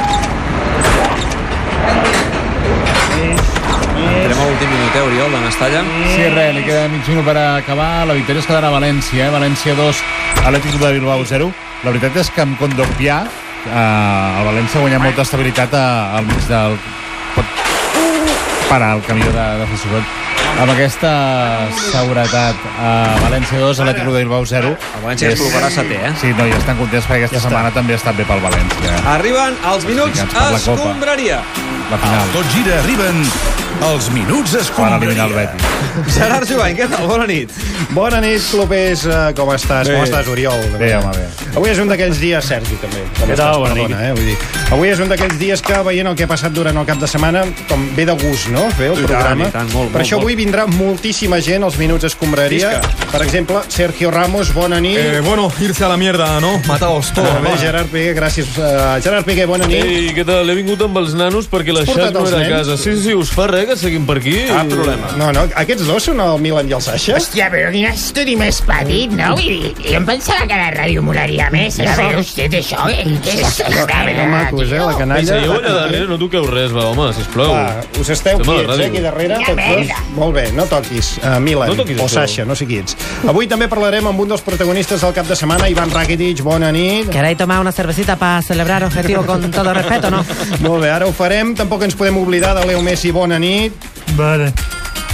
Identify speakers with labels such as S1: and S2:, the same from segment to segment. S1: eh,
S2: mig minut per acabar. La victòria es quedarà a València, eh? València 2, Atlètic de Bilbao 0. La veritat és que amb Condorpià eh, el València guanya molta estabilitat a, al mig del... Pot parar el camió de, de fer soroll. Amb aquesta seguretat a València 2, Atlètic de Bilbao 0.
S1: El València es col·locarà setè, eh?
S2: Sí, no, i estan contents perquè aquesta ja setmana està. també ha estat bé pel València.
S1: Arriben els minuts
S2: Classificats per la Copa.
S1: escombraria.
S2: La final.
S3: Tot gira, arriben els minuts
S2: Quan eliminar el
S3: escombraria.
S2: Betis.
S1: Gerard Jovany, què tal? Bona nit.
S4: Bona nit, clubers. Eh, Com estàs?
S1: Bé.
S4: Com estàs, Oriol?
S2: Bé, home, bé.
S4: Avui és un d'aquells dies, Sergi, també. també
S5: tal?
S4: estàs,
S5: Bona
S4: perdona, Eh? Vull dir, avui és un d'aquells dies que, veient el que ha passat durant el cap de setmana, com ve de gust, no?, fer
S1: I
S4: el
S1: tant,
S4: programa.
S1: i tant, molt,
S4: per
S1: molt,
S4: això
S1: molt.
S4: avui vindrà moltíssima gent als Minuts Escombraria.
S1: Visca.
S4: Per exemple, Sergio Ramos, bona nit.
S6: Eh, bueno, irse a la mierda, ¿no? Mataos todos.
S4: Molt bé,
S6: va.
S4: Gerard Piqué, gràcies. Uh, Gerard Piqué, bona nit.
S5: Ei, què tal? He vingut amb els nanos perquè la
S4: Has
S5: xat
S4: portat
S5: no
S4: els
S5: era a
S4: nens? Ah,
S5: casa. Sí, sí, us fa res que seguim per aquí?
S1: Cap problema.
S4: No, no, aquests dos són el Milan i el Sasha?
S7: Hòstia, però quin estudi més petit, no? Vull dir, jo em pensava que la ràdio molaria més. Ja veu vostè això? eh? Què és això?
S4: Que macos, eh, la canalla.
S5: Seieu allà darrere, no toqueu res, va, home, sisplau.
S4: Va, us esteu
S5: Estem a la
S4: quiets, eh,
S5: ràdio.
S4: aquí darrere,
S7: Quina
S4: tots dos.
S7: merda.
S4: Molt bé, no toquis. Uh, Milan,
S5: No toquis
S4: o
S5: això.
S4: Sasha, no sé qui ets. Avui també parlarem amb un dels protagonistes del cap de setmana, Ivan Rakitic, bona nit.
S8: ¿Queréis tomar una cervecita para celebrar objetivo con todo respeto, no?
S4: Molt bé, ara ho farem. Tampoc ens podem oblidar de Leo Messi, bona nit. Vale.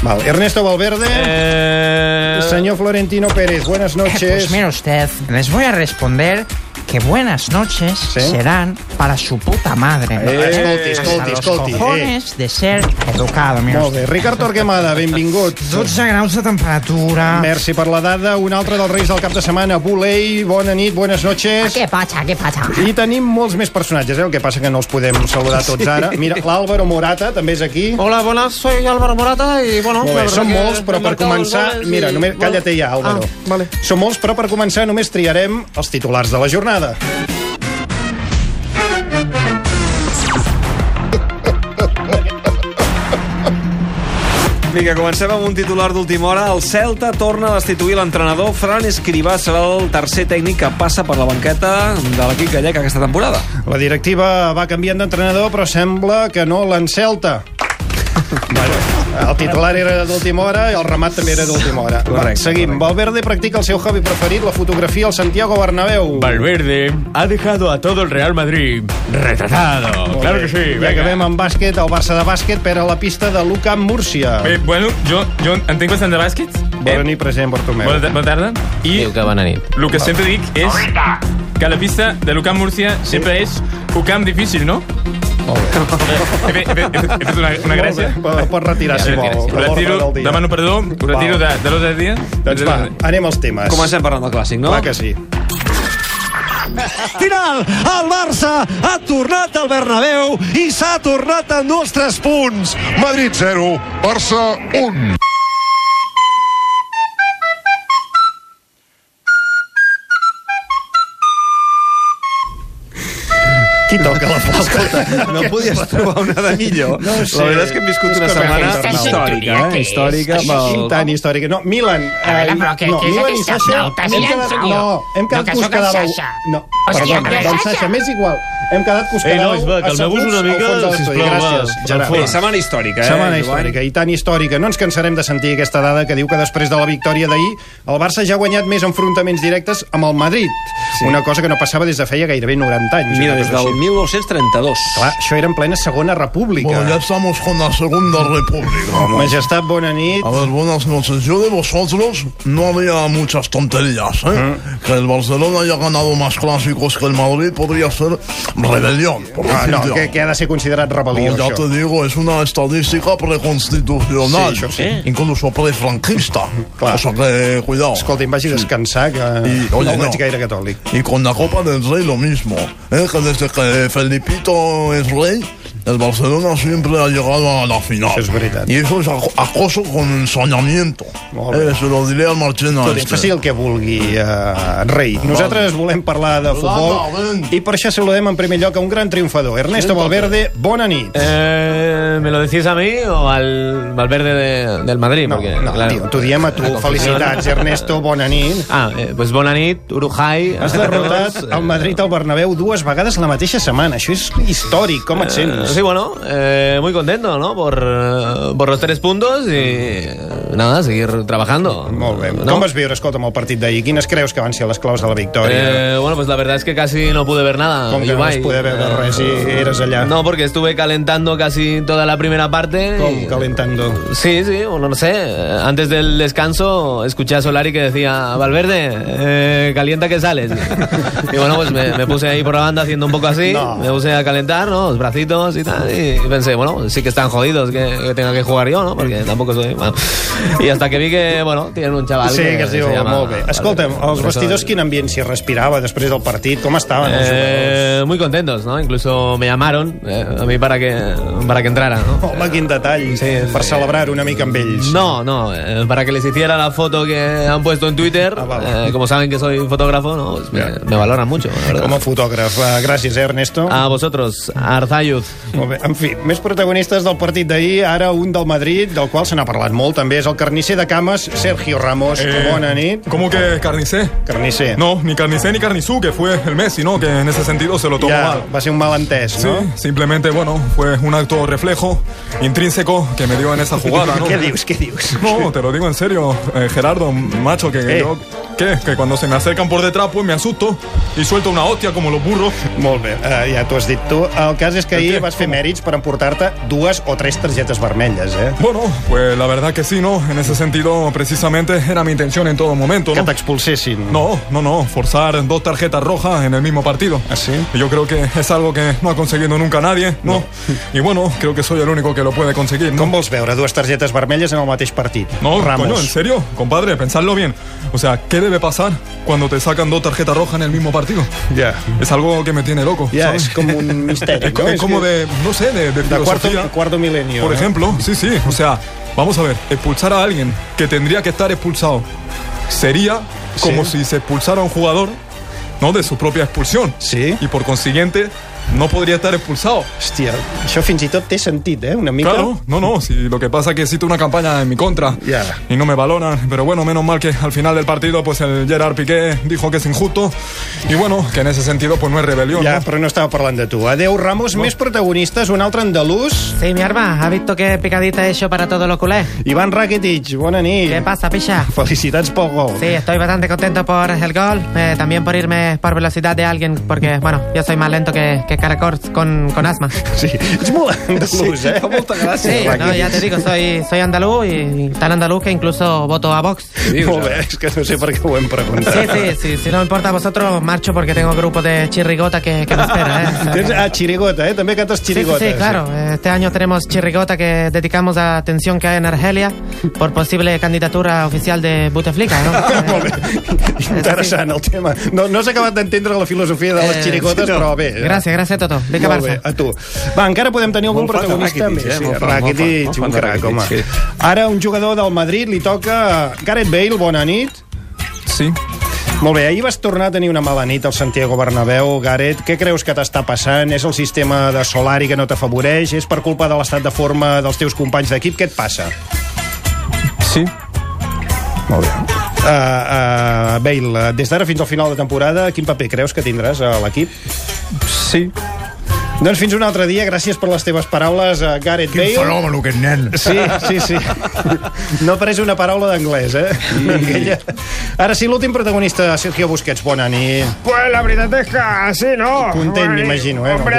S4: Val. Ernesto Valverde,
S5: Eh...
S4: senyor Florentino Pérez, buenas noches.
S9: Eh, Pues mire usted, les voy a responder que buenas noches serán para su puta madre.
S4: Eh, escolti,
S9: Hasta
S4: escolti,
S9: los
S4: escolti. Eh.
S9: cojones de ser educado, mira
S4: Molt
S9: usted.
S4: bé, Ricard Torquemada, benvingut.
S9: 12 graus de temperatura.
S4: Merci per la dada. Un altre dels reis del cap de setmana, Bulei, bona nit, buenas noches.
S8: ¿Qué pacha, qué pacha?
S4: I tenim molts més personatges, eh? el que passa que no els podem saludar tots ara. Mira, l'Àlvaro Morata també és aquí.
S8: Hola, buenas, soy Álvaro Morata y bueno...
S4: Molt
S8: la
S4: bé,
S8: verdad
S4: són
S8: que
S4: molts, però
S8: he
S4: per
S8: marcado
S4: començar...
S8: goles
S4: Mira,
S8: y-
S4: només... Calla-te ja, Álvaro.
S8: Ah, vale.
S4: Són molts, però per començar només triarem els titulars de la jornada.
S1: Vinga, comencem amb un titular d'última hora. El Celta torna a destituir l'entrenador. Fran Escrivà serà el tercer tècnic que passa per la banqueta de l'equip gallec aquesta temporada.
S4: La directiva va canviant d'entrenador, però sembla que no l'encelta. Bueno, el titular era d'última hora i el remat també era d'última hora. Va,
S1: Correcte,
S4: seguim. Valverde practica el seu hobby preferit, la fotografia al Santiago Bernabéu.
S5: Valverde ha dejado a todo el Real Madrid retratado. claro que sí,
S4: I
S5: venga.
S4: acabem amb bàsquet, el Barça de bàsquet per a la pista de Luca Múrcia.
S6: Eh, bueno, jo, jo entenc bastant de bàsquet.
S4: Bona nit, president Bartomeu.
S6: Bona, ta- bona tarda. I
S5: Diu que bona nit.
S6: el que sempre dic és que la pista de Lucan Murcia sempre és un camp difícil, no? He fet, he fet, he fet una, una gràcia.
S4: Molt bé, Pots retirar, si vol.
S6: Us retiro, demano perdó, us retiro de, de l'ordre del dia.
S4: Doncs va, anem als temes.
S1: Comencem parlant del clàssic, no?
S4: Clar que sí.
S10: Final! El Barça ha tornat al Bernabéu i s'ha tornat a endur els 3 punts.
S3: Madrid 0, Barça 1.
S4: Qui toca la flauta?
S1: No podies trobar una de millor.
S4: No ho sé.
S1: La veritat és que hem viscut
S4: És
S1: una
S4: que
S1: setmana
S4: aquesta
S1: històrica,
S7: sintonia que
S1: eh?
S7: és?
S1: Històrica
S7: Això és
S1: pel...
S4: Tan històrica. No, Milan.
S7: A veure,
S4: eh,
S7: però què- què és
S4: Milan i
S7: aquesta
S4: Sasha,
S7: flauta?
S4: hem
S7: Milan,
S4: quedat-
S7: sóc jo.
S4: No, hem quedat
S7: No,
S4: que
S7: que
S4: us
S7: sóc el
S4: quedàveu...
S7: Sasha.
S4: No,
S7: Hòstia,
S4: perdona,
S7: que és
S4: doncs
S7: Sasha.
S4: Sasha, m'és igual. Hem quedat que us
S5: Ei,
S4: quedàveu
S5: nois, va, calmeu-vos
S4: asseguts
S5: una mica,
S4: al fons de l'estudi.
S5: sisplau, va,
S4: Gràcies,
S5: al
S4: Gerard.
S1: Bé, setmana històrica, eh?
S4: Setmana
S1: Joan?
S4: històrica i tan històrica. No ens cansarem de sentir aquesta dada que diu que després de la victòria d'ahir el Barça ja ha guanyat més enfrontaments directes amb el Madrid. Sí. Una cosa que no passava des de feia gairebé 90 anys.
S1: Mira,
S4: una
S1: des
S4: cosa
S1: del
S4: així.
S1: 1932.
S4: Clar, això era en plena Segona República.
S11: Bueno, ya estamos con la Segunda República.
S4: Ah, Majestat, bona nit.
S11: A ver, buenas noches. Yo de vosotros no haría muchas tonterías, ¿eh? Que el Barcelona haya ganado más clásicos que el Madrid podría ser rebelión. por
S4: Ah, no,
S11: decirlo.
S4: que, que ha de ser considerat rebel·lió,
S11: Como ya
S4: això.
S11: te digo, es una estadística preconstitucional,
S4: Sí, eso sí.
S11: incluso prefranquista.
S4: Claro.
S11: O sea que, cuidado.
S4: Escolti'm, vagi a descansar, que
S11: I-
S4: Ah. no
S11: oye,
S4: el veig
S11: no.
S4: gaire catòlic.
S11: Y con la Copa del Rey lo mismo. ¿eh? Que desde que Felipito es rey, el Barcelona siempre ha llegado a la final.
S4: Eso es verdad.
S11: Y eso es aco- acoso con ensañamiento.
S4: Molt bé.
S11: Eh, se lo diré al Marchena.
S4: Escolti,
S11: este.
S4: faci el que vulgui, eh, rei. Nosaltres volem parlar de futbol
S11: Hola,
S4: i per això saludem en primer lloc a un gran triomfador. Ernesto Valverde, bona nit.
S5: Eh, ¿Me lo decís a mí o al Valverde de- del Madrid?
S4: No,
S5: Porque,
S4: no,
S5: claro.
S4: tio, t'ho diem a tu. Felicitats, Ernesto, bona nit.
S5: Ah, eh, pues bona nit, Uruguai.
S4: Has derrotat el Madrid al Bernabéu dues vegades la mateixa setmana. Això és històric, com et sents?
S5: Sí,
S12: Eh, sí, bueno, eh, muy contento, ¿no? Por, eh, por los tres puntos y eh, nada, seguir trabajando.
S4: Molt bé. Com vas viure, escolta, amb el partit d'ahir? Quines creus que van ser les claus de la victòria?
S12: Eh, bueno, pues la verdad es que casi no pude ver nada.
S4: Com que no
S12: Ibai. Eh,
S4: vas poder veure res i eres allà?
S12: No, porque estuve calentando casi toda la primera parte. y-
S4: Calentando.
S12: Sí, sí, bueno, no sé. eh, Antes del descanso escuché a Solari que decía, Valverde, eh, calienta que sales. Y bueno, pues me, me puse ahí por la banda haciendo un poco así, me puse a calentar, ¿no? Los bracitos y tal. Y, y pensé, bueno, sí que están jodidos que, que tenga que jugar yo, ¿no? Porque
S4: Mm.
S12: tampoco soy... bueno. Y hasta que vi que, bueno, tienen un chaval
S4: Sí, que es diu
S12: eh, se llama
S4: molt bé. Escolta'm, els
S12: Valverde.
S4: vestidors quin ambient s'hi respirava després del partit? Com estaven els Ah, jugadors?
S12: Eh, muy contentos, ¿no? Incluso me llamaron eh, a mí para que, para que entrara, ¿no?
S4: Home, quin detall, per celebrar una mica amb ells.
S12: No, no, eh, para que les hiciera la foto que han puesto en Twitter.
S4: Ah,
S12: Eh, como saben que soy fotógrafo, ¿no? Pues me, me valoran mucho, la verdad.
S4: Com a fotògraf. Eh, Gràcies, eh, Ernesto.
S12: A vosotros, a Arzayuz.
S4: Molt bé. En fi, més protagonistes del partit d'ahir, ara un del Madrid, del qual se n'ha parlat molt també, és el carnisser de cames, Sergio Ramos.
S13: Eh,
S4: Bona nit.
S13: ¿Cómo que eh, carnicé?
S4: Carnicé.
S13: No, ni carnicé ni carnizú, que fue el Messi, ¿no? Que en ese sentido se lo tomó
S4: Ya,
S13: mal.
S4: Va a ser un malentès, ¿no?
S13: Sí, simplemente, bueno, fue un acto reflejo intrínseco que me dio en esa jugada, ¿no?
S4: Què dius, què dius?
S13: No, te lo digo en serio, eh, Gerardo, macho, que yo... ¿Qué? Que cuando se me acercan por detrás, pues me asusto y suelto una hostia como los burros.
S4: Molt bé, eh, ja t'ho has dit tu. El cas és que ahir vas fer mèrits per emportar-te dues o tres targetes vermelles, eh?
S13: Bueno, pues la verdad que sí, ¿no? En ese sentido, precisamente, era mi intención en todo momento, ¿no?
S4: Que te expulsesin.
S13: No, no, no, forzar dos tarjetas rojas en el mismo partido.
S4: ¿Así?
S13: Yo creo que es algo que no ha conseguido nunca nadie, ¿no? Y bueno, creo que soy el único que lo puede conseguir, ¿no?
S4: Com vols veure dues targetes vermelles en el mateix partit?
S13: No,
S4: Ramos.
S13: coño, en serio, compadre, pensadlo bien. O sea, ¿qué debe pasar cuando te sacan dos tarjetas rojas en el mismo partido?
S4: Ya.
S13: Es algo que me tiene loco.
S4: Ya,
S13: ¿sabes?
S4: es como un misterio,
S13: Es,
S4: ¿no?
S13: es
S4: Es
S13: Eh, como
S4: que-
S13: de, no sé, de, de
S4: De cuarto,
S13: filosofía.
S4: cuarto milenio.
S13: Por
S4: ¿no?
S13: ejemplo, sí, sí, o sea, vamos a ver, expulsar a alguien que tendría que estar expulsado sería como si se expulsara a un jugador, ¿no? De su propia expulsión.
S4: Sí.
S13: Y por consiguiente, no podría estar expulsado.
S4: Hòstia, això fins i tot té sentit, eh? Una mica...
S13: Claro, no, no, si lo que pasa es que hiciste una campaña en mi contra y no me valoran, pero bueno, menos mal que al final del partido pues el Gerard Piqué dijo que es injusto y bueno, que en ese sentido pues no es rebelión.
S4: Ja, però no estava parlant de tu. Adeu, Ramos, més protagonistes, un altre andalús.
S8: Sí, mi arma, ha visto que picadita he hecho para todos los culés.
S4: Iván Rakitic, bona nit.
S8: ¿Qué pasa, picha?
S4: Felicitats pel gol.
S8: Sí, estoy bastante contento por el gol, eh, también por irme por velocidad de alguien, porque, bueno, yo soy más lento que, que caracol con, con asma.
S4: Sí, és molt andalús,
S8: Sí,
S4: eh?
S8: fa molta gràcia, Sí, no, ja te digo, soy, soy andaluz y tan andaluz que incluso voto a Vox.
S4: Molt bé, és que no sé per què ho hem preguntat.
S8: Sí, sí, sí, si no importa a vosotros, marcho porque tengo grupo de chirrigota que, que me espera, ¿eh?
S4: Tens a Chirigota, eh? També cantes
S8: Sí, sí,
S4: Chirigota.
S8: sí, claro. Este año tenemos Chirrigota que dedicamos a la atención que hay en Argelia por posible candidatura oficial de Buteflika, ¿no? Eh,
S4: Interessant el tema. No, no s'ha acabat d'entendre la filosofia de les
S8: Eh,
S4: xirigotes,
S8: no.
S4: però bé.
S8: Gràcies, gràcies, Toto. Vinga,
S4: Molt
S8: Barça.
S4: bé, a tu. Va, encara podem tenir algun
S8: Molt fan de
S4: protagonista
S8: Rakitic,
S4: més.
S8: eh?
S4: Sí,
S8: Molt fan, molt fan, molt
S4: Rakitic,
S8: fan
S4: un
S8: de
S4: crac, home.
S8: Rakitic,
S4: Ara un jugador del Madrid li toca Gareth Bale, bona nit.
S13: Sí.
S4: Molt bé, ahir vas tornar a tenir una mala nit al Santiago Bernabéu, Gareth. Què creus que t'està passant? És el sistema de Solari que no t'afavoreix? És per culpa de l'estat de forma dels teus companys d'equip? Què et passa?
S13: Sí.
S4: Molt bé. Uh, uh, Bale, eh, des d'ara fins al final de temporada, quin paper creus que tindràs a l'equip?
S13: Sí.
S4: Doncs fins un altre dia, gràcies per les teves paraules, eh, Gareth Bale.
S11: Quin fenomen, aquest nen.
S4: Sí, sí, sí. No pareix una paraula d'anglès, eh? Aquella... Ara sí, l'últim protagonista, Sergio Busquets. Bona nit.
S14: Pues la veritat és que sí, no?
S4: Content, m'imagino, eh?
S14: Hombre,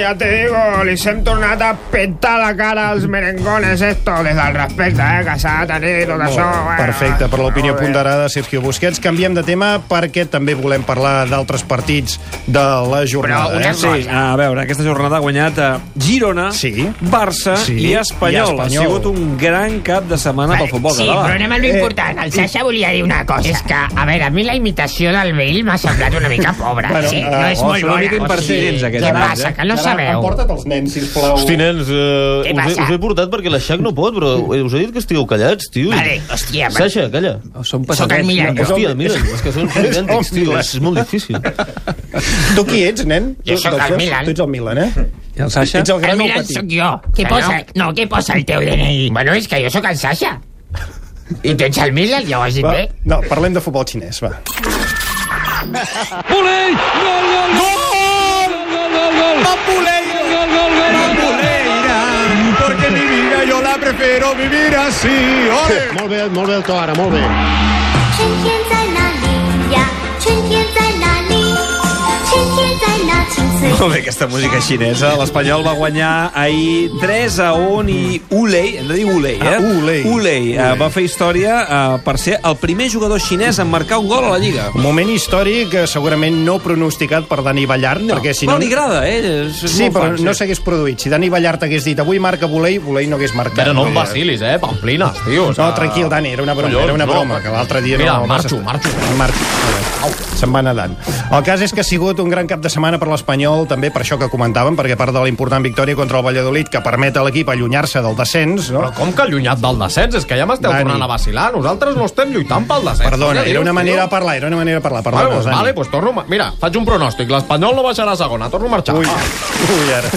S14: ja te digo, els hem tornat a petar la cara als merengones esto, des del respecte, eh? Que s'ha de tenir tot això, eh?
S4: Perfecte, per l'opinió ponderada, Sergio Busquets. Canviem de tema perquè també volem parlar d'altres partits de la jornada. eh?
S1: Sí, a veure, aquesta jornada ha guanyat a Girona, sí. Barça
S4: Sí,
S1: sí. i Espanyol.
S4: i
S1: Ha
S4: Espanyol.
S1: sigut un gran cap de setmana pel futbol
S7: Sí,
S1: català.
S7: però anem a lo important. El Sasha volia dir una cosa. Eh, És que, a veure, a mi la imitació del vell m'ha semblat una mica pobra.
S1: Bueno,
S7: sí,
S1: eh,
S7: no és
S1: oh,
S7: molt
S1: són una
S7: bona.
S1: mica impertinents, aquests
S7: Què
S1: nens,
S7: passa,
S1: eh?
S7: que no sabeu?
S4: Emporta't els nens, sisplau.
S15: Hosti, nens, eh, us,
S7: Què
S15: he,
S7: passa?
S15: us he portat perquè la Xac no pot, però us he dit que estigueu callats, tio.
S7: Vale, hòstia, però-
S15: Sasha, calla.
S1: Són
S7: pessadets, Sóc en Milan. no?
S15: Hòstia, mira, és que són
S4: És
S15: gigàntics, tio,
S4: Milan.
S15: és molt difícil.
S4: Tu qui ets, nen?
S7: Jo
S4: Tu-
S7: sóc
S4: dels
S7: el
S4: dos?
S7: Milan.
S4: Tu ets el Milan, eh?
S1: I el
S4: Sasha? Ets el gran
S7: el
S4: o el
S7: Milan
S4: petit?
S7: sóc jo. Què
S4: Que
S7: posa? No. què posa el teu DNI? Bueno, és que jo sóc el Sasha. I tu ets el Milan, ja ho has dit
S4: Va,
S7: bé.
S4: no, parlem de futbol xinès, va.
S14: Gol, gol, gol! Gol, gol, gol! Va, Pulell!
S10: gol, gol, gol. porque mi vida yo la prefiero vivir así. Molt bé, molt bé el to ara, molt bé.
S16: 春天在哪里呀？春天在哪里？春天在哪？青翠。
S1: Molt bé, aquesta música xinesa. L'Espanyol va guanyar ahir 3 a 1 i Ulei, hem de dir Ulei, eh?
S10: Ah, Ulei.
S1: Ulei, eh, va fer història eh, per ser el primer jugador xinès en marcar un gol a la Lliga.
S4: Un moment històric eh, segurament no pronosticat per Dani Ballart, no, perquè si
S1: però
S4: no...
S1: li agrada, eh? És- és
S4: sí,
S1: molt
S4: però
S1: fan, sí.
S4: no s'hagués produït. Si Dani Ballart hagués dit avui marca volei, volei no hagués marcat.
S5: Però no em vacilis, eh, pamplines, tio. o
S4: No,
S5: sea-
S4: tranquil, Dani, era una broma,
S5: Collons,
S4: era una
S5: no,
S4: broma,
S5: per-
S4: que l'altre dia
S5: Mira,
S4: no...
S5: marxo,
S4: marxo. marxo. A veure, Se'n va nedant. El cas és que ha sigut un gran cap de setmana per l'Espanyol, també per això que comentàvem, perquè a part de la important victòria contra el Valladolid, que permet a l'equip allunyar-se del descens, no?
S5: Però com que allunyat del descens? És que ja m'esteu
S4: Dani.
S5: tornant a vacilar. Nosaltres no estem lluitant pel descens.
S4: Perdona,
S5: Què dius,
S4: era una
S5: tio?
S4: manera de parlar, era una manera de parlar, perdona,
S5: Vale, doncs,
S4: Dani.
S5: vale, doncs torno... a ma- Mira, faig un pronòstic. L'Espanyol no baixarà a segona. Torno a marxar. Ah. Ui,
S4: ui ara.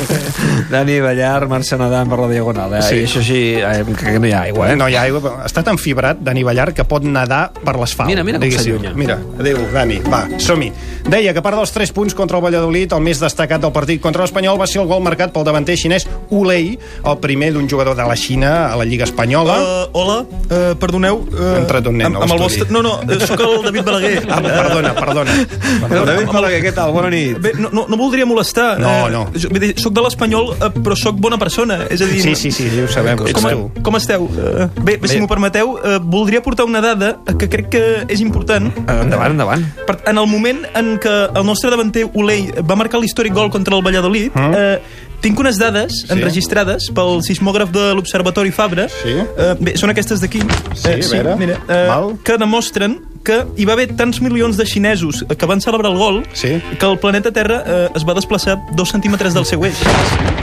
S1: Dani Ballar, Mercè Nadal per la Diagonal. Eh? Sí.
S4: Sí.
S1: I això sí, eh, que no hi ha aigua, eh?
S4: No hi ha aigua, però està tan fibrat, Dani Ballar, que pot nedar per l'asfalt.
S1: Mira, mira com
S4: diguéssim.
S1: s'allunya.
S4: Mira, adéu, Dani, va, som-hi. Deia que a part dels 3 punts contra el Valladolid, el més destacat del partit contra l'Espanyol va ser el gol marcat pel davanter xinès Ulei, el primer d'un jugador de la Xina a la Lliga Espanyola. Eh,
S17: Uh, hola, uh, perdoneu... Uh,
S4: Entra d'un nen
S17: amb,
S4: a
S17: amb el
S4: l'estudi.
S17: vostre... No, no, eh, sóc el David Balaguer.
S4: Ah, perdona, perdona.
S1: David Balaguer, què tal? Bona nit.
S17: Bé, no, no, no voldria molestar.
S4: No,
S17: eh,
S4: no.
S17: jo- vull dir, Sóc de l'Espanyol, eh, però sóc bona persona. És a dir...
S4: Sí, sí, sí, ja ho sabem, ets
S17: Com,
S4: tu.
S17: com esteu? Eh, Bé, bé, si m'ho permeteu, eh, voldria portar una dada que crec que és important. Eh,
S4: Ah,
S1: Endavant, endavant.
S17: Per, en el moment en què el nostre davanter Olei va marcar l'històric gol contra el Valladolid,
S4: Ah.
S17: eh, tinc unes dades enregistrades pel sismògraf de l'Observatori Fabra.
S4: Sí.
S17: Eh, bé, són aquestes d'aquí.
S4: Sí, a veure.
S17: Mira, eh, que demostren que hi va haver tants milions de xinesos que van celebrar el gol
S4: sí.
S17: que el planeta Terra eh, es va desplaçar dos centímetres del seu eix.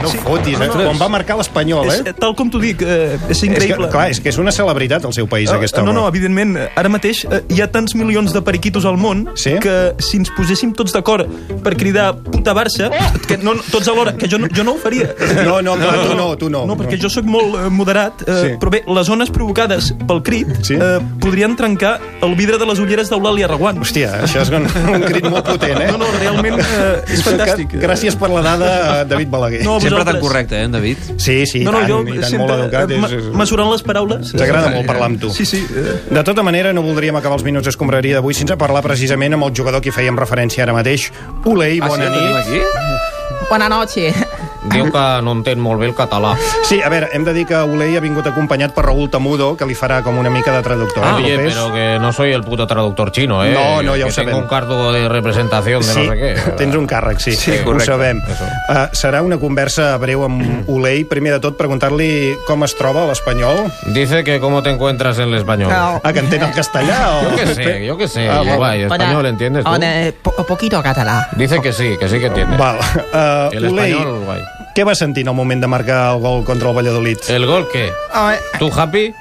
S4: No
S17: Sí.
S4: fotis, eh?
S17: Ostres.
S4: Quan va marcar l'Espanyol,
S17: És,
S4: eh?
S17: eh, Tal com t'ho dic, eh, és
S4: És
S17: increïble.
S4: que, clar, és que és una celebritat el seu país,
S17: Ah,
S4: aquest home.
S17: No, no, evidentment, eh, ara mateix eh, hi ha tants milions de periquitos al món sí? que si ens poséssim tots d'acord per cridar puta Barça, que no, tots alhora, que jo no, jo no ho faria.
S4: No, no, clar, tu no, tu no.
S17: No, perquè jo sóc molt eh, moderat, eh,
S4: Sí.
S17: sí. però bé, les zones provocades pel crit sí? eh, podrien trencar el vidre de les ulleres d'Eulàlia Reguant.
S4: Hòstia, això és un, un crit molt potent, eh?
S17: No, no, realment eh, és fantàstic.
S4: Gràcies per la dada, eh, David Balaguer.
S17: No,
S1: Sempre tan
S17: vosaltres.
S1: correcte, eh, en David?
S4: Sí, sí, i
S17: No, no,
S4: tant,
S17: jo
S4: i tant,
S17: sempre,
S4: molt educat.
S17: eh,
S4: És,
S17: ma-
S4: és...
S17: mesurant les paraules.
S4: Ens agrada molt parlar amb tu.
S17: Sí, sí. eh,
S4: De tota manera, no voldríem acabar els minuts escombraria d'avui sense parlar precisament amb el jugador que hi fèiem referència ara mateix. Ulei,
S18: Ah, sí,
S4: bona
S18: el tenim
S4: nit.
S18: Buenas noches.
S5: Diu que no entén molt bé el català.
S4: Sí, a veure, hem de dir que Ulei ha vingut acompanyat per Raül Tamudo, que li farà com una mica de traductor. eh,
S5: Ah, Oye,
S4: propers.
S5: pero que no soy el puto traductor chino, ¿eh?
S4: No, no, ya
S5: que
S4: lo
S5: tengo
S4: saben.
S5: un cargo de representación de
S4: sí,
S5: no sé qué.
S4: tens un càrrec, sí,
S5: Sí,
S4: ho
S5: correcte.
S4: sabem.
S5: Eso.
S4: Uh, serà una conversa breu amb Ulei. Primer de tot, preguntar-li com es troba l'espanyol.
S5: Dice que cómo te encuentras en el español.
S4: Ah, que entén el castellà? O...
S5: Yo qué sé, Eh, yo qué sé.
S4: Ah, bueno.
S5: Guay, español,
S18: Hola.
S5: ¿entiendes tú?
S18: Hola, eh, po- un poquito catalán.
S5: Dice que sí, que sí que entiende.
S4: Val. Uh,
S5: El
S4: Ulei,
S5: español, guay.
S4: què va sentir en el moment de marcar el gol contra el Valladolid?
S5: ¿El gol qué?
S18: Ah, eh,
S5: ¿Tú happy?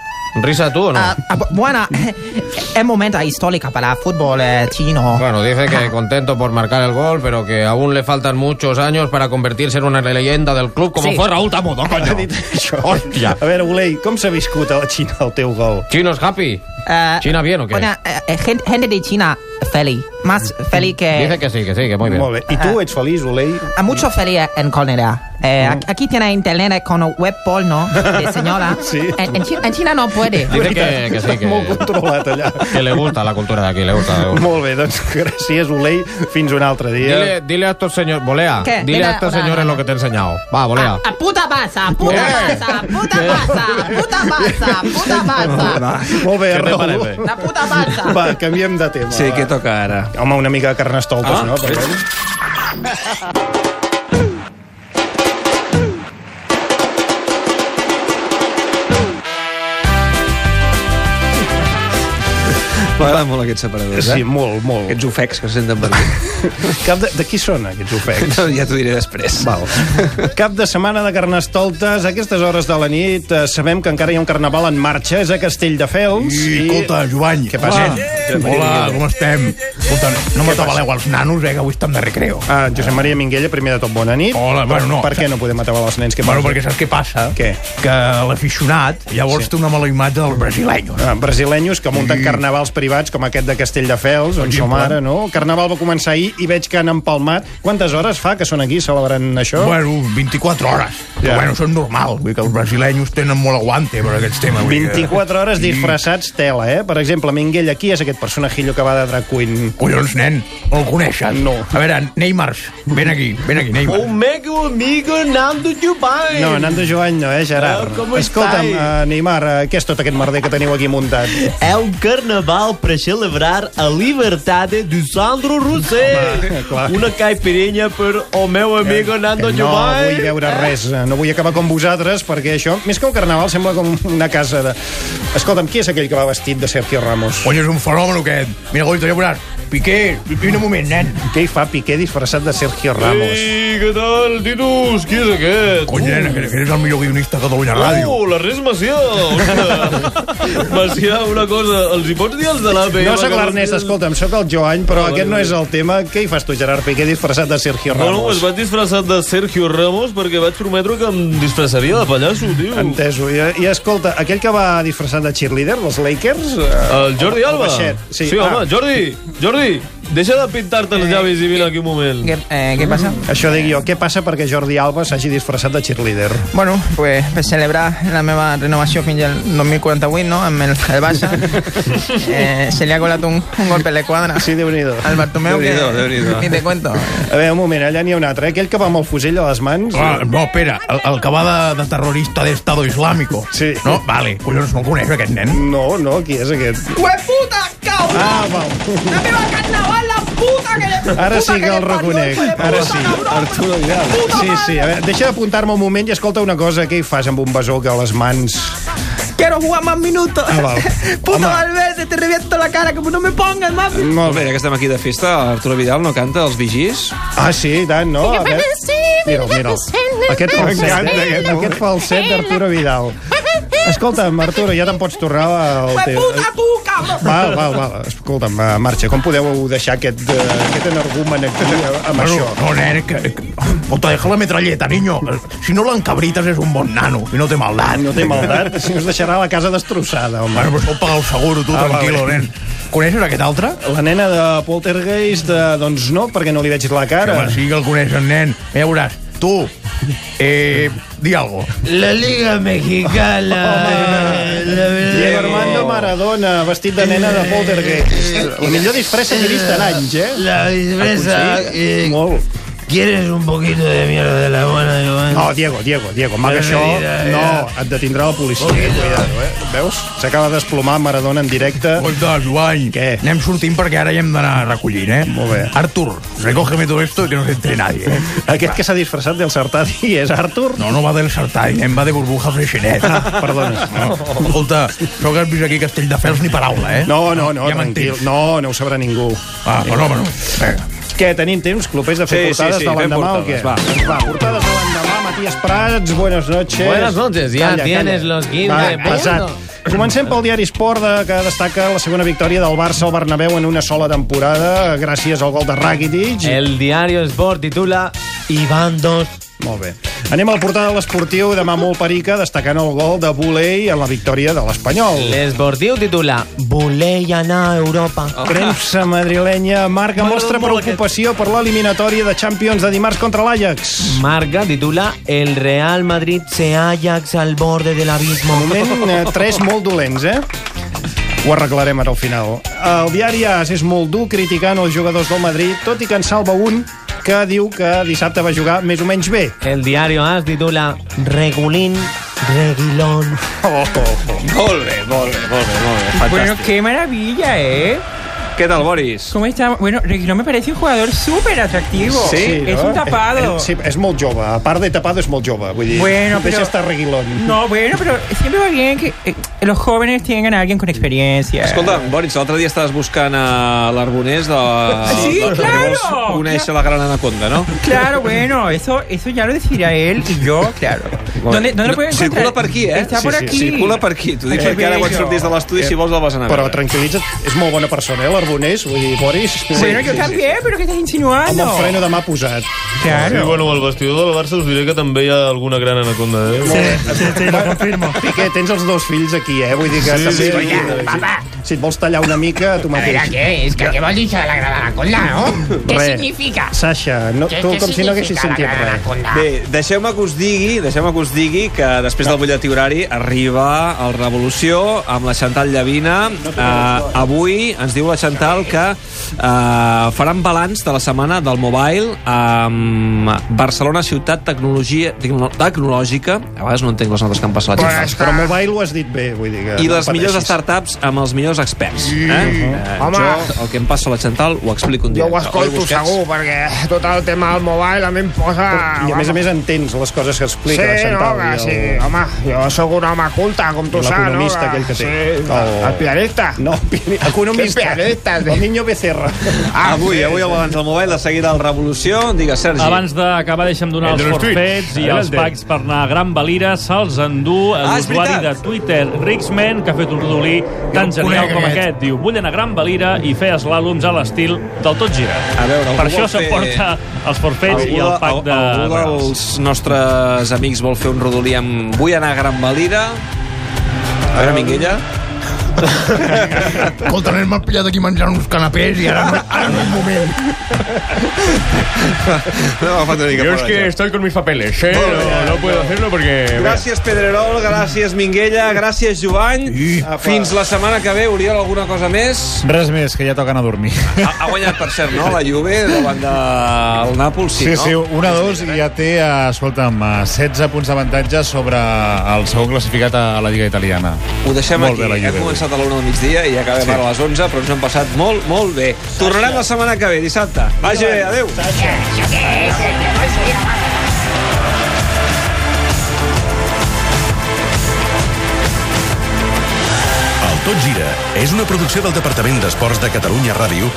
S5: ¿Risa tú o no?
S18: ah, ah, bu- bueno, es momento histórico para el fútbol eh, chino.
S5: Bueno, dice que contento por marcar el gol, pero que aún le faltan muchos años para convertirse en una leyenda del club como
S4: Sí.
S5: fue Raúl Tamudo, coño. Hòstia.
S4: A veure, Ulei, com s'ha viscut a la Xina el teu gol?
S5: Chinos happy.
S18: Eh,
S5: China bien o qué?
S18: Bueno, eh, eh, gente, gente de China feliz. Más feliz que... Eh,
S5: Dice que sí, que sí, que muy bien.
S4: Molt bé. I
S18: Ah.
S4: tu ets feliç, Ulei?
S18: A mucho feliz en Conera. Eh,
S4: Mm.
S18: aquí- Aquí tiene internet con web porno de señora. En, en Chi- en China no puede.
S5: Dice que, que sí,
S4: Molt
S5: que,
S4: controlat allà.
S5: que le gusta la cultura de aquí, le gusta. Le gusta.
S4: Molt bé, doncs gràcies, Ulei. Fins un altre dia.
S5: Dile, dile a estos señores, Bolea,
S18: ¿Qué?
S5: dile
S18: Dile
S5: a estos
S18: ahora,
S5: señores lo que te he enseñado. Va, Bolea.
S14: Ah,
S18: A puta pasa, puta pasa, puta pasa, puta pasa, puta pasa.
S4: Molt bé,
S18: Què te
S4: Raül.
S18: parece? La puta pasa.
S4: Va, canviem de tema.
S1: Sí, què toca ara?
S4: Home, una mica de carnestoltes,
S1: Ah,
S4: no?
S1: sí. M'agraden molt aquests separadors, eh?
S4: Sí, molt, molt.
S1: Aquests ofecs que se senten per aquí.
S4: Cap de, de qui són aquests ofecs?
S1: No, ja t'ho diré després.
S4: Val. Cap de setmana de carnestoltes, a aquestes hores de la nit, eh, sabem que encara hi ha un carnaval en marxa, és a Castelldefels.
S11: I, escolta, Joan,
S4: Què passa?
S11: Hola, hola, com estem?
S14: Escolta, no
S4: Què
S14: m'atabaleu
S4: passa?
S14: als nanos, eh, que avui estem de recreo.
S4: Ah, en Josep Maria Minguella, primer de tot, bona nit.
S14: Hola, bueno, no.
S4: Per què no podem atabalar els nens? Què
S14: Bueno,
S4: passa?
S14: perquè saps què passa?
S4: Què?
S14: Que l'aficionat llavors té una mala imatge dels brasileños. Mm.
S4: Ah, brasileños que munten
S14: Sí.
S4: carnavals privats com aquest de Castelldefels, on som
S14: exemple.
S4: ara, no? El carnaval va començar ahir i veig que han empalmat. Quantes hores fa que són aquí celebrant això?
S14: Bueno, 24 hores. Ja. Però bueno, són normal, vull dir que els brasileños tenen molt aguante per aquests temes. vull dir que-
S4: 24 hores
S14: eh? Sí.
S4: disfressats tela, eh? Per exemple, Minguella, qui és aquest personajillo que va de drag queen?
S14: Collons, nen, no el coneixes?
S4: No. Oh,
S14: A veure, Neymar, ven aquí, ven aquí, Neymar.
S12: O meu amigo Nando Jubai.
S4: No, Nando Joan no, eh, Gerard?
S12: Ah, com
S4: Escolta'm,
S12: estai?
S4: eh, Neymar, eh, què és tot aquest merder que teniu aquí muntat?
S12: É um carnaval para celebrar a liberdade do Sandro
S4: eh,
S12: Rossell. Una caipirinha para o meu amigo Nando
S4: Que no
S12: Jubai.
S4: vull veure res, eh, no vull acabar com vosaltres, perquè això, més que un carnaval, sembla com una casa de... Escolta'm, qui és aquell que va vestit de Sergio Ramos?
S14: Oi, és un fenomen aquest. Mira, Goito, ja veuràs. Piqué, vine un moment, nen.
S4: Què hi fa Piqué disfressat de Sergio Ramos?
S12: Ei, què tal, Titus? Qui és aquest?
S14: Cony, nen, que que eres el millor guionista de Catalunya Ràdio.
S12: Oh, la res Macià! Ostres. Macià, una cosa, els hi pots dir als de l'APM?
S4: No sóc
S12: que
S4: l'Ernest,
S12: vostès-
S4: escolta'm, sóc el Joan, però
S12: Ah,
S4: aquest
S12: vale,
S4: no
S12: vale.
S4: és el tema. Què hi fas tu, Gerard Piqué, disfressat de Sergio
S12: Bueno, es
S4: Ramos?
S12: vaig disfressar de Sergio Ramos perquè vaig prometre que em disfressaria de pallasso, tio.
S4: Enteso. I, I escolta, aquell que va disfressat de cheerleader, dels Lakers... eh,
S12: El Jordi
S4: el- el
S12: Alba?
S4: baixet. Ah.
S12: Sí, sí home, Jordi, Jordi, deixa de pintar-te els llavis i vine aquí un moment.
S18: Eh, Què, eh, què passa?
S4: Això dic jo, què passa perquè Jordi Alba s'hagi disfressat de cheerleader?
S18: Bueno, pues per celebrar la meva renovació fins al 2048, no?, amb el, el Barça, eh, se li ha colat un, un golpe a la quadra.
S4: Sí, déu nhi
S18: Al Bartomeu, que...
S14: Déu-n'hi-do, Déu-n'hi-do.
S18: Ni te cuento.
S4: A veure, un moment, allà n'hi ha un altre, eh? aquell que va amb el fusell a les mans.
S14: Ah, no, espera, el, el que va de, de terrorista d'Estado Islámico. Sí. No? Vale, collons, no el coneix aquest nen.
S4: No, no, qui és aquest?
S18: ¡Hue puta, cabrón!
S4: Ah, va.
S18: ¡La meva carnaval, la puta que le...
S4: Ara
S18: puta
S4: sí que el reconec, ara sí.
S1: Arturo Vidal.
S4: Sí, sí, a veure, deixa d'apuntar-me un moment i escolta una cosa, què hi fas amb un besó que a les mans...
S18: Quiero jugar más minutos.
S4: Ah, val.
S18: Puto Valverde, te reviento la cara, como no me pongas más.
S4: Mm,
S1: Molt bé, ja que estem aquí de festa, Arturo Vidal no canta els vigis?
S4: Ah, sí, i tant, no? A veure, mira'l, mira'l. Aquest falset,
S19: M'encanta
S4: eh?
S19: aquest home.
S4: aquest falset d'Arturo Vidal. Escolta'm, Arturo, ja te'n pots tornar al
S18: ¡Hue
S4: teu...
S18: puta, tú, cabrón!
S4: Val, val, val. Escolta'm, eh, marxa. Com podeu deixar aquest, eh, aquest energumen aquí eh, amb
S14: Bueno,
S4: això?
S14: no, nen, que, que... Ota, deja la metralleta, niño. Eh, Si no l'encabrites és un bon nano i no té maldat.
S4: No té maldat. Si us deixarà la casa destrossada, home.
S14: Bueno, però això ho paga el seguro, tu,
S4: Ah,
S14: tranquilo,
S4: vale.
S14: nen. Coneixes aquest altre?
S4: La nena de Poltergeist, eh, doncs no, perquè no li veig la cara.
S14: Home, sí que el coneixen, nen. Ja veuràs. Tu, eh, di algo.
S4: La Liga Mexicana. Diego Armando Maradona, vestit de nena de Poltergeist. El millor disfressa que he vist en anys, eh?
S20: Eh, La disfressa, eh,
S4: Aconseguit. Molt.
S20: ¿Quieres un poquito de mierda de la buena, Joan?
S4: No, Diego, Diego, Diego, amaga
S20: Mira,
S4: això.
S20: mira, mira.
S4: No, et detindrà la policia. Cuidado, eh? Veus? S'acaba d'esplomar Maradona en directe.
S14: Escolta, Joan,
S4: Què?
S14: anem sortint perquè ara ja hem d'anar recollint, eh? Molt bé. Artur, recógeme todo esto y que no se entre nadie. Eh?
S4: Aquest que s'ha disfressat del Sartadi és Artur?
S14: No, no va del Sartadi, nen, va de burbuja freixenet.
S4: Ah, perdona.
S14: No. Escolta, això que has vist aquí a Castelldefels ni paraula, eh?
S4: No, no, no,
S14: ja
S4: tranquil.
S14: m'entens.
S4: No, no ho sabrà ningú.
S14: Ah, fenòmeno. Vinga.
S4: Què, tenim temps, clubers, de fer
S1: Sí, sí,
S4: portades
S1: sí,
S4: de
S1: fem
S4: l'endemà o què?
S1: portades, va.
S4: va, portades de l'endemà, Matías Prats, buenas noches.
S8: Buenas noches, ya tienes los 15
S4: Va, pesat. Comencem pel diari Esport, de, que destaca la segona victòria del Barça al Bernabéu en una sola temporada, gràcies al gol de Rakitic.
S8: El diario Sport titula Iván 2.
S4: Molt bé. Anem al portal de l'esportiu, demà molt perica, destacant el gol de Bulei en la victòria de l'Espanyol.
S8: L'esportiu titula Voler anar a Europa.
S4: Premsa madrilenya marca
S8: M'agrada
S4: mostra
S8: molt
S4: preocupació per l'eliminatòria de Champions de dimarts contra l'Ajax.
S8: Marca titula El Real Madrid se Ajax al borde del abismo.
S4: Moment, eh, tres molt dolents, eh? Ho arreglarem ara al final. El diari AS és molt dur criticant els jugadors del Madrid, tot i que en salva un que diu que dissabte va jugar més o menys bé.
S8: El diario AS titula Regulín Reguilón.
S4: Oh,
S1: Molt bé, molt bé, molt bé, molt bé.
S21: Bueno,
S1: Fantàstic.
S21: qué maravilla, ¿eh?
S1: Què tal, Boris?
S21: ¿Cómo está? Bueno, Reguilón me parece un jugador súper atractivo. es
S4: no?
S21: un tapado.
S4: Eh, Sí, és molt jove. A part de tapado, és molt jove. Vull dir,
S21: Bueno,
S4: deixa
S21: però-
S4: estar reguilón.
S21: No, bueno, pero siempre va bien que eh, los jóvenes tengan a alguien con experiencia.
S1: Escolta, Boris, l'altre dia estaves buscant a l'Arbonés de la...
S21: Sí,
S1: de- perquè
S21: claro,
S1: vols conèixer la gran anaconda, no?
S21: Claro, bueno, eso, eso ya lo decidirá él y yo, claro. ¿Dónde, dónde lo pueden encontrar?
S1: Circula per aquí, eh?
S21: Está por aquí.
S1: Circula per aquí. T'ho dic
S4: Qué
S1: perquè ara quan
S4: bello.
S1: sortís de l'estudi, si vols el vas anar a
S4: Eh, Però
S1: veure.
S4: tranquil·litza't, és molt bona persona, eh, l'Arbonés, vull dir, Boris...
S21: bueno, yo también, pero ¿qué estás
S4: Amb
S21: insinuando?
S4: el freno de mà posat.
S21: Claro.
S22: Sí, bueno, amb el vestidor del Barça us diré que també hi ha alguna gran anaconda, eh?
S4: sí, sí, lo confirmo. Piqué, tens els dos fills aquí, eh? Vull dir que...
S22: Sí,
S4: també-
S22: sí,
S4: si-
S22: coño,
S7: papà.
S4: Si et vols tallar una mica, tu
S7: A
S4: mateix.
S7: veure, què és? Que què vol dir això de la granada cola, no? Què
S4: Res.
S7: significa?
S4: Sasha, no,
S7: Què-
S4: tu
S7: què
S4: com si no haguessis
S7: significa la
S4: sentit
S7: gran
S4: res.
S7: anaconda?
S1: Bé, deixeu-me que us digui, deixeu-me que us digui que després del butlletí horari arriba el Revolució amb la Xantal Llavina. Eh, avui ens diu la Xantal que eh, faran balanç de la setmana del Mobile amb Barcelona Ciutat Tecnologia Tecno- Tecnològica. A vegades no entenc les notes que han passat la Xantal.
S4: Però mobile ho has dit bé, vull dir que...
S1: I
S4: no
S1: les millors
S4: pateixis.
S1: startups amb els millors experts. Eh? Eh,
S14: Home.
S1: jo, el que em passa a la Xantal, ho explico un dia.
S14: Jo ho escolto segur, perquè Eh, tot el tema del mobile a mi em posa...
S4: I a més a més entens les coses que explica la
S14: sí,
S4: Chantal.
S14: no, que
S4: i
S14: sí,
S4: el-
S14: home, jo sóc un home culte, com tu
S4: i
S14: saps, no?
S4: l'economista aquell que té.
S14: Sí,
S4: Oh.
S14: el pianista.
S4: No, pi- economista.
S14: Què pianista?
S4: El niño Becerra.
S1: Ah, avui, avui a l'abans del Mobile, de seguida el Revolució. Digues, Sergi.
S23: Abans d'acabar, deixa'm donar els
S1: Entre los
S23: forfets
S1: tuits.
S23: i els
S1: Adelante.
S23: packs per anar a Gran Valira. Se'ls endú
S1: Ah, és
S23: l'usuari de
S1: veritat.
S23: Twitter, Rixman, que ha fet un rodolí tan Jo el genial conec, com aquest. aquest. Diu, vull anar a Gran Valira i fer eslàloms a l'estil del tot gira.
S1: A veure, algú
S23: per això
S1: vol fer-
S23: s'emporta els forfets i el
S1: de-
S23: pack de...
S1: algú
S23: regals.
S1: dels nostres amics vol fer un rodolí amb... Vull anar a Gran Valira. A veure, Minguella.
S11: Escolta, nen, m'has pillat aquí menjant uns canapés i ara, no- ara no és moment.
S1: No, falta una mica
S24: Yo
S1: por
S24: es
S1: allá.
S24: que estoy con mis papeles, ¿eh? No, no puedo hacerlo porque...
S1: Gràcies, Pedrerol, gràcies, Minguella, gràcies, Jovany. Fins la setmana que ve. Oriol, alguna cosa més?
S2: Res més, que ja toquen a dormir.
S1: Ha, ha guanyat, per cert, no? La Juve davant del Nàpols, sí,
S2: Sí,
S1: no?
S2: sí, 1-2 i ja té, eh, escolta'm, eh, 16 punts d'avantatge sobre el segon classificat a la Lliga Italiana.
S1: Ho deixem
S2: Molt
S1: aquí.
S2: Bé, la
S1: Hem
S2: Juve.
S1: començat a la 1 del migdia i acabem
S2: Sí.
S1: sí. ara a les 11, però ens hem passat molt, molt bé. Tornarem la setmana que ve, dissabte. Vagi bé, adeu.
S25: El Tot Gira és una producció del Departament d'Esports de Catalunya Ràdio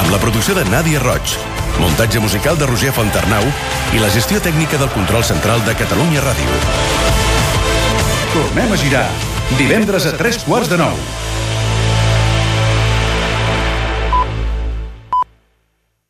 S25: amb la producció de Nàdia Roig, muntatge musical de Roger Fontarnau i la gestió tècnica del control central de Catalunya Ràdio.
S3: Tornem a girar. Divendres a tres quarts de nou.